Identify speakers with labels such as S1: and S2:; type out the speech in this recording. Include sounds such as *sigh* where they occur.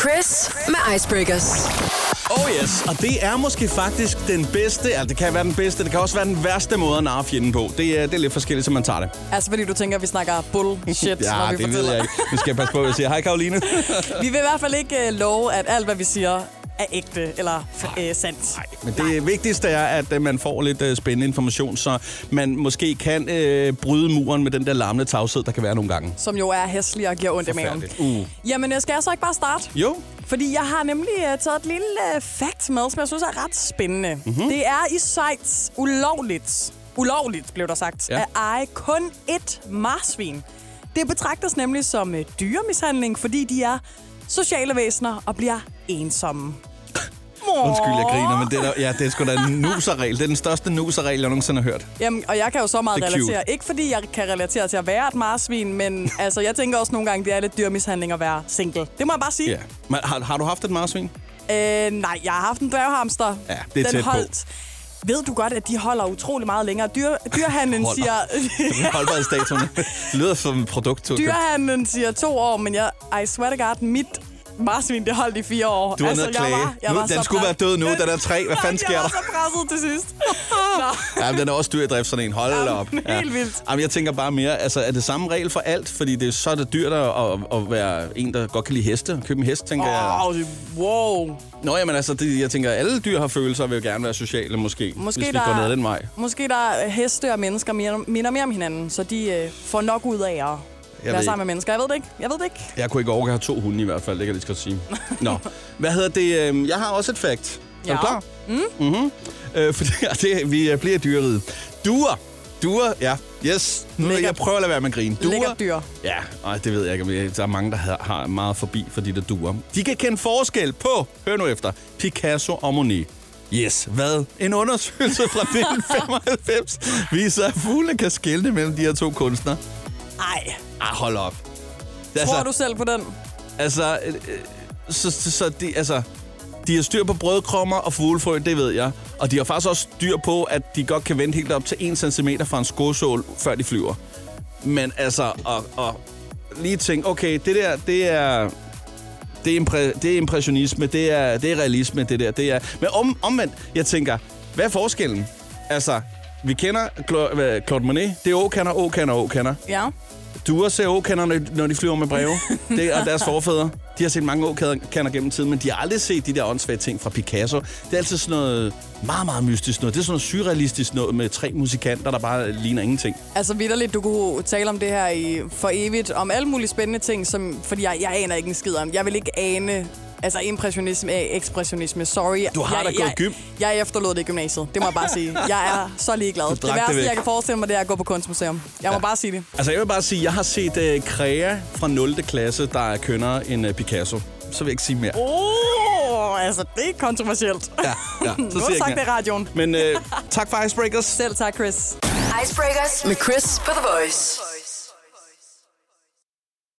S1: Chris med Icebreakers.
S2: Oh yes, og det er måske faktisk den bedste, altså det kan være den bedste, det kan også være den værste måde at narre fjenden på. Det er, det er lidt forskelligt, som man tager det.
S3: Altså fordi du tænker, at vi snakker bullshit,
S2: *laughs* ja,
S3: når vi
S2: det
S3: fortæller.
S2: ved jeg ikke. Nu skal jeg passe på, at jeg siger, hej *laughs* Karoline.
S3: Vi vil i hvert fald ikke øh, love, at alt, hvad vi siger, er ægte eller øh, sandt. Nej.
S2: Men det vigtigste er, at øh, man får lidt øh, spændende information, så man måske kan øh, bryde muren med den der larmende tavshed, der kan være nogle gange.
S3: Som jo er hæslig og giver ondt i maven.
S2: Forfærdeligt. Uh.
S3: Jamen, øh, skal jeg så ikke bare starte?
S2: Jo,
S3: Fordi jeg har nemlig uh, taget et lille uh, fact med, som jeg synes er ret spændende.
S2: Mhm.
S3: Mm-hmm. Det er i Schweiz ulovligt, ulovligt blev der sagt,
S2: Ja.
S3: ja. at eje kun ét marsvin. Det betragtes nemlig som uh, dyremishandling, fordi de er sociale væsener og bliver ensomme.
S2: undskyld, jeg griner, men det er, da- ja, det er sgu da en nuserregel. Det er den største nuserregel, jeg nogensinde har hørt.
S3: Jamen, og jeg kan jo så meget
S2: Det er cute.
S3: relatere. Ikke fordi jeg kan relatere til at være et marsvin,
S2: *laughs*
S3: men altså, jeg tænker også nogle gange, det er lidt dyremishandling at være single. Det må jeg bare sige.
S2: Ja. Men har, har du haft et marsvin?
S3: Øh, nej, jeg har haft en dværghamster.
S2: Ja, det
S3: Den
S2: er tæt på.
S3: holdt. Ved du godt, at de holder utrolig meget længere? Dyr,
S2: *laughs*
S3: dyrhandlen
S2: Holder.
S3: siger... *laughs*
S2: *laughs* Holdbarhedsdatoen lyder som et produkt. Du, har
S3: dyrhandlen siger to år, men jeg... I swear to God, mit marsvin, det holdt i fire år. Altså,
S2: du er nede at
S3: jeg
S2: klage.
S3: var- jeg
S2: nu,
S3: var så
S2: den skulle være
S3: presset.
S2: død nu, den er tre. Hvad fanden sker
S3: jeg
S2: der?
S3: Jeg var så presset til
S2: *laughs*
S3: sidst. Nå.
S2: Ja, men den er også dyr i drift, sådan en. Hold
S3: Jamen,
S2: op.
S3: helt vildt.
S2: Jamen, jeg tænker bare mere, altså er det samme regel for alt? Fordi det er så er det dyrt at, at, at, være en, der godt kan lide heste. og Købe en hest, tænker jeg.
S3: Åh, det- wow.
S2: Nå, jamen altså, det, jeg tænker, alle dyr har følelser og vil jo gerne være sociale, måske.
S3: Måske
S2: hvis vi
S3: der,
S2: går ned ad den vej.
S3: Måske der er heste og mennesker mere, minder mere om hinanden, så de øh, får nok ud af at
S2: ved
S3: være
S2: ikke.
S3: sammen med mennesker. Jeg ved det ikke. Jeg ved det ikke.
S2: Jeg kunne ikke overgå at have to hunde i hvert fald, det kan jeg lige så godt sige. Nå, hvad hedder det? øhm, Jeg har også et fact. Er du
S3: Ja.
S2: klar? Mm. Mm-hmm. Øh, fordi, det, vi øh, bliver dyreriget. Duer. Duer, ja. Yes. Nu,
S3: Lækkert.
S2: jeg prøver at lade være med at grine. Duer.
S3: Lækkert dyr.
S2: Ja, og det ved jeg ikke. om jeg- Der er mange, der har- har meget forbi for de der duer. De kan kende forskel på, hør nu efter, Picasso og Monet. Yes, hvad? En undersøgelse fra *laughs* 1995 viser, at fuglene kan skelne mellem de her to kunstnere.
S3: Ej,
S2: Ah, hold op.
S3: tror du selv på den?
S2: Altså, øh, øh, så, så, så de, altså, de har styr på brødkrummer og fuglefrø, det ved jeg. Og de har faktisk også styr på, at de godt kan vente helt op til 1 cm fra en skosål, før de flyver. Men altså, og, og lige tænke, okay, det der, det er... Det er, impre, det er impressionisme, det er, det er realisme, det der, det er... Men om, omvendt, jeg tænker, hvad er forskellen? Altså, vi kender Cla- hvad, Claude Monet, det er åkander, åkander, åkander.
S3: Ja.
S2: Duer ser åkander, når- når de flyver med breve. Det er deres forfædre. De har set mange åkander gennem tiden, men de har aldrig set de der åndssvage ting fra Picasso. Det er altid sådan noget meget, meget mystisk noget. Det er sådan noget surrealistisk noget med tre musikanter, der bare ligner ingenting.
S3: Altså vidderligt, du kunne tale om det her i, for evigt, om alle mulige spændende ting, som, fordi jeg, jeg aner ikke en skid om. Jeg vil ikke ane Altså impressionisme, eh, ekspressionisme, sorry.
S2: Du har
S3: jeg,
S2: da gået
S3: jeg,
S2: gym.
S3: Jeg efterlod det i gymnasiet, det må jeg bare sige. Jeg er så ligeglad. Det
S2: drak det
S3: værste,
S2: væk.
S3: jeg kan forestille mig, det er at gå på kunstmuseum. Jeg ja. må bare sige det.
S2: Altså, jeg vil bare sige, jeg har set uh, Krea fra 0. klasse, der er kønnere end uh, Picasso. Så vil jeg ikke sige mere.
S3: Oh, altså det er kontroversielt.
S2: Ja, ja.
S3: nu har
S2: siger jeg
S3: du
S2: ikke
S3: sagt det
S2: mere.
S3: i radioen.
S2: Men uh, tak for Icebreakers.
S3: Selv tak, Chris.
S1: Icebreakers med Chris på The Voice.